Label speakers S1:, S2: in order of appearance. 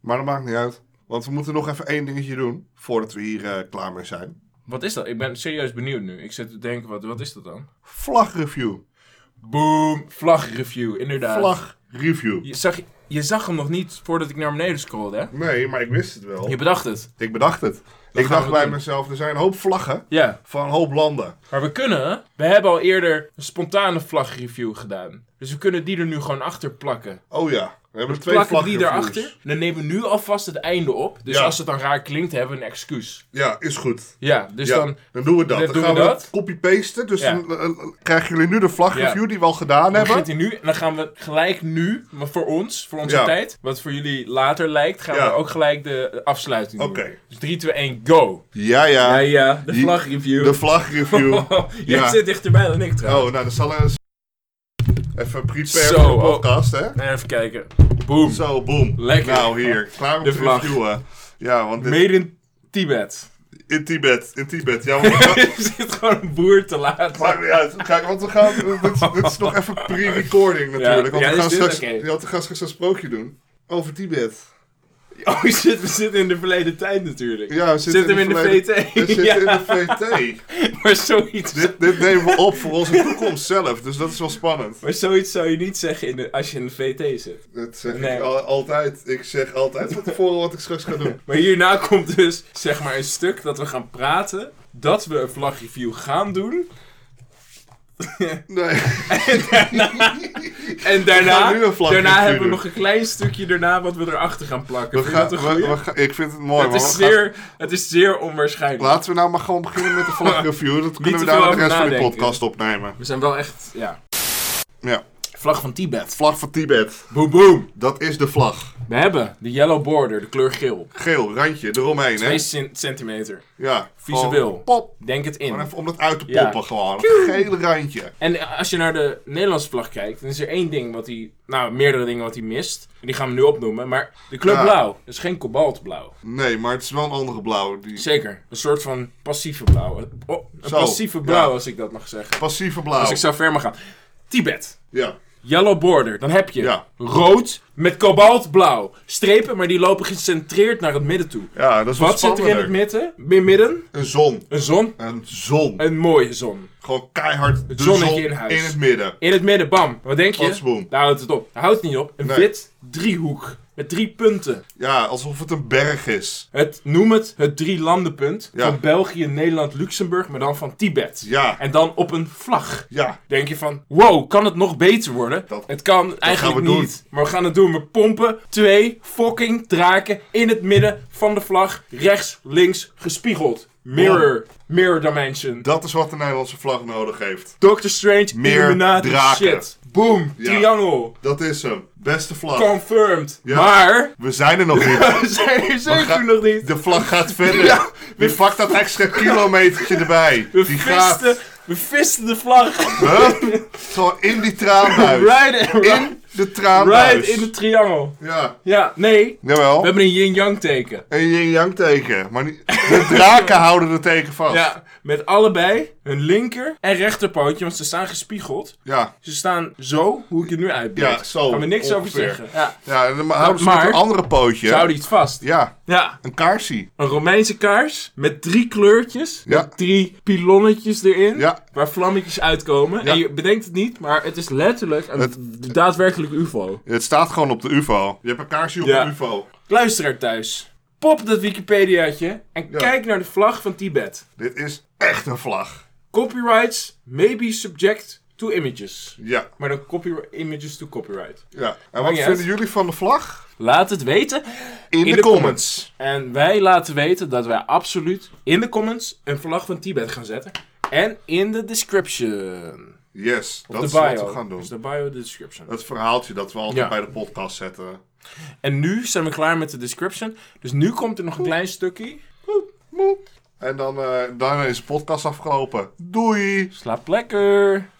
S1: Maar dat maakt niet uit. Want we moeten nog even één dingetje doen voordat we hier eh, klaar mee zijn.
S2: Wat is dat? Ik ben serieus benieuwd nu. Ik zit te denken, wat, wat is dat dan?
S1: Vlagreview.
S2: Boom! Vlagreview, inderdaad.
S1: Vlagreview.
S2: Je zag, je zag hem nog niet voordat ik naar beneden scrollde, hè?
S1: Nee, maar ik wist het wel.
S2: Je bedacht het.
S1: Ik bedacht het. ik
S2: gaan
S1: dacht
S2: we
S1: bij
S2: doen.
S1: mezelf, er zijn een hoop vlaggen
S2: Ja,
S1: van een hoop landen.
S2: maar we kunnen... We hebben al eerder een spontane vlagreview gedaan. Dus we kunnen die er nu gewoon achter plakken.
S1: Oh ja, we hebben twee
S2: plakken die
S1: vlagreviews.
S2: erachter. Dan nemen we nu alvast het einde op. Dus
S1: Ja.
S2: als het dan raar klinkt, hebben we een excuus.
S1: Ja, is goed.
S2: Ja, dus
S1: ja, dan,
S2: dan...
S1: doen we dat.
S2: dan
S1: Dan,
S2: doen
S1: gaan we
S2: we dat.
S1: copy-pasten. Dus
S2: Ja.
S1: dan eh, eh, krijgen jullie nu de vlagreview
S2: Ja.
S1: die we al gedaan
S2: Dan
S1: hebben.
S2: begint hij nu en dan gaan we gelijk nu, maar voor ons, voor onze
S1: Ja.
S2: tijd, wat voor jullie later lijkt, gaan
S1: Ja.
S2: we ook gelijk de afsluiting doen.
S1: Oké.
S2: Dus 3, 2, 1, go!
S1: Ja, ja.
S2: Ja, ja, de
S1: die-
S2: vlagreview.
S1: De vlagreview.
S2: Jij
S1: Ja.
S2: zit dichterbij dan ik
S1: Oh,
S2: trouwens.
S1: nou, dan zal er eens even prepare
S2: Zo,
S1: voor de
S2: oh.
S1: podcast, hè?
S2: Nee, even kijken. Boom.
S1: Zo, boom.
S2: Lekker.
S1: Nou, hier. Klaar om
S2: De
S1: te
S2: vlag.
S1: reviewen. Ja, want dit-
S2: Made in Tibet.
S1: in Tibet. In Tibet. Ja, maar...
S2: Er zit gewoon een boer te laat.
S1: Maakt niet uit. Kijk, want we gaan... Dit, dit is nog even pre-recording natuurlijk. want
S2: Ja,
S1: we
S2: is
S1: gaan
S2: dit?
S1: straks,
S2: Oké.
S1: ja, we gaan straks een sprookje doen. Over Tibet.
S2: Oh shit, we zitten in de verleden tijd natuurlijk.
S1: Ja, we
S2: Zit hem in de
S1: verleden-
S2: VT.
S1: We zitten in de VT.
S2: Maar zoiets,
S1: Dit, dit nemen we op voor onze toekomst zelf. Dus dat is wel spannend.
S2: maar zoiets zou je niet zeggen in de, als je in de VT zit.
S1: Dat zeg ik
S2: Nee.
S1: al- altijd. Ik zeg altijd van tevoren wat ik straks ga doen.
S2: Maar hierna komt dus zeg maar een stuk dat we gaan praten. Dat we een vlagreview gaan doen.
S1: Nee.
S2: En
S1: gaan
S2: daarna,
S1: nu een vlagreview
S2: daarna hebben we
S1: doen.
S2: nog een klein stukje daarna wat we erachter gaan plakken.
S1: We
S2: Vind je
S1: gaan,
S2: dat
S1: we,
S2: een goeie?
S1: we gaan- ik vind het mooi.
S2: het,
S1: man.
S2: is
S1: We gaan-
S2: zeer, het is zeer onwaarschijnlijk.
S1: laten we nou maar gewoon beginnen met de vlagreview. Dat kunnen we
S2: te
S1: daar
S2: veel
S1: de
S2: over
S1: rest van de
S2: nadenken.
S1: podcast opnemen.
S2: We zijn wel echt, ja.
S1: Ja.
S2: Vlag van Tibet.
S1: Vlag van Tibet.
S2: Boom boom.
S1: Dat is de vlag.
S2: We hebben de yellow border, de kleur geel.
S1: Geel, randje, eromheen.
S2: 2
S1: Hè?
S2: centimeter.
S1: Ja.
S2: Visueel.
S1: gewoon Pop.
S2: Denk het
S1: Gewoon
S2: in.
S1: even om dat uit te
S2: Ja.
S1: poppen gewoon. Het gele randje.
S2: En als je naar de Nederlandse vlag kijkt, dan is er één ding wat hij, nou meerdere dingen wat hij mist. En die gaan we nu opnoemen, maar de kleur
S1: Ja.
S2: blauw is geen kobaltblauw.
S1: Nee, maar het is wel een andere blauw. Die
S2: Zeker. Een soort van passieve blauw. Oh, een
S1: Zo,
S2: passieve blauw,
S1: ja.
S2: als ik dat mag zeggen.
S1: passieve blauw.
S2: Als ik zo ver mag gaan. Tibet.
S1: Ja.
S2: Yellow border. Dan heb je
S1: Ja.
S2: rood met kobaltblauw. Strepen, maar die lopen gecentreerd naar het midden toe.
S1: ja, dat is
S2: Wat zit er in het midden? In midden?
S1: Een zon.
S2: Een zon.
S1: Een zon.
S2: Een mooie zon.
S1: Gewoon keihard de
S2: Eh, zonnetje
S1: zon
S2: in huis.
S1: in het midden.
S2: In het midden, bam. Wat denk je?
S1: Patsboom.
S2: Daar houdt het op. Daar houdt het niet op. Een
S1: Nee.
S2: wit driehoek. Met drie punten.
S1: Ja, alsof het een berg is.
S2: Het, noem het het drie landenpunt.
S1: Ja.
S2: Van België, Nederland, Luxemburg, maar dan van Tibet.
S1: Ja.
S2: En dan op een vlag.
S1: Ja.
S2: Denk je van, wow, kan het nog beter worden?
S1: Dat-
S2: het kan eigenlijk
S1: gaan we doen.
S2: niet. Maar we gaan het doen. We pompen twee fucking draken in het midden van de vlag. Rechts, links, gespiegeld. Mirror. Mirror dimension.
S1: Dat is wat de Nederlandse vlag nodig heeft.
S2: Doctor Strange,
S1: Meer
S2: Illuminati
S1: draken.
S2: shit. Boom,
S1: Ja.
S2: triangle.
S1: Dat is hem. Beste vlag.
S2: Confirmed.
S1: Ja.
S2: Maar,
S1: We zijn er nog niet.
S2: we zijn er zeker
S1: gaan-
S2: nog niet.
S1: De vlag gaat verder.
S2: Ja.
S1: Wie pakt dat extra kilometertje erbij?
S2: We
S1: Die
S2: visten,
S1: gaat
S2: we visten de vlag.
S1: Huh? gewoon in die traanbuis.
S2: Right, in,
S1: In de traanbuis.
S2: right in de triangle.
S1: Ja.
S2: Ja, nee.
S1: Jawel.
S2: We hebben een yin-yang teken.
S1: Een yin-yang teken. Maar niet... de draken houden er teken vast.
S2: Ja, met allebei hun linker en rechterpootje, want ze staan gespiegeld.
S1: Ja.
S2: Ze staan zo, hoe ik het nu uitbeeld.
S1: Ja, zo,
S2: Gaan we niks over
S1: ongeveer.
S2: zeggen. Ja.
S1: Ja, en dan houden ze
S2: Maar-
S1: met een andere pootje.
S2: Ze houden iets vast.
S1: Ja.
S2: Ja,
S1: Een kaarsie.
S2: een Romeinse kaars met drie kleurtjes.
S1: Ja.
S2: Met drie pilonnetjes erin.
S1: Ja.
S2: Waar vlammetjes uitkomen.
S1: Ja.
S2: En je bedenkt het niet, maar het is letterlijk een daadwerkelijk ufo.
S1: Het staat gewoon op de UFO. Je hebt een kaarsie op
S2: Ja.
S1: de UFO.
S2: Luisteraar thuis. Pop dat Wikipediaatje en kijk naar de vlag van Tibet.
S1: Dit is echt een vlag.
S2: Copyrights may be subject to images.
S1: Ja.
S2: Maar dan copyright, images to copyright.
S1: ja. En wat
S2: niet
S1: vinden
S2: uit.
S1: jullie van de vlag?
S2: Laat het weten
S1: In, de, comments.
S2: En wij laten weten dat wij absoluut in de comments een vlag van Tibet gaan zetten. En in de description.
S1: Yes, dat
S2: de
S1: is
S2: bio.
S1: wat we gaan doen.
S2: Dus de bio, de description.
S1: Het verhaaltje dat we altijd
S2: Ja.
S1: bij de podcast zetten.
S2: En nu zijn we klaar met de description. Dus nu komt er nog een klein stukje.
S1: En dan, eh, daarna is de podcast afgelopen. Doei!
S2: Slaap lekker.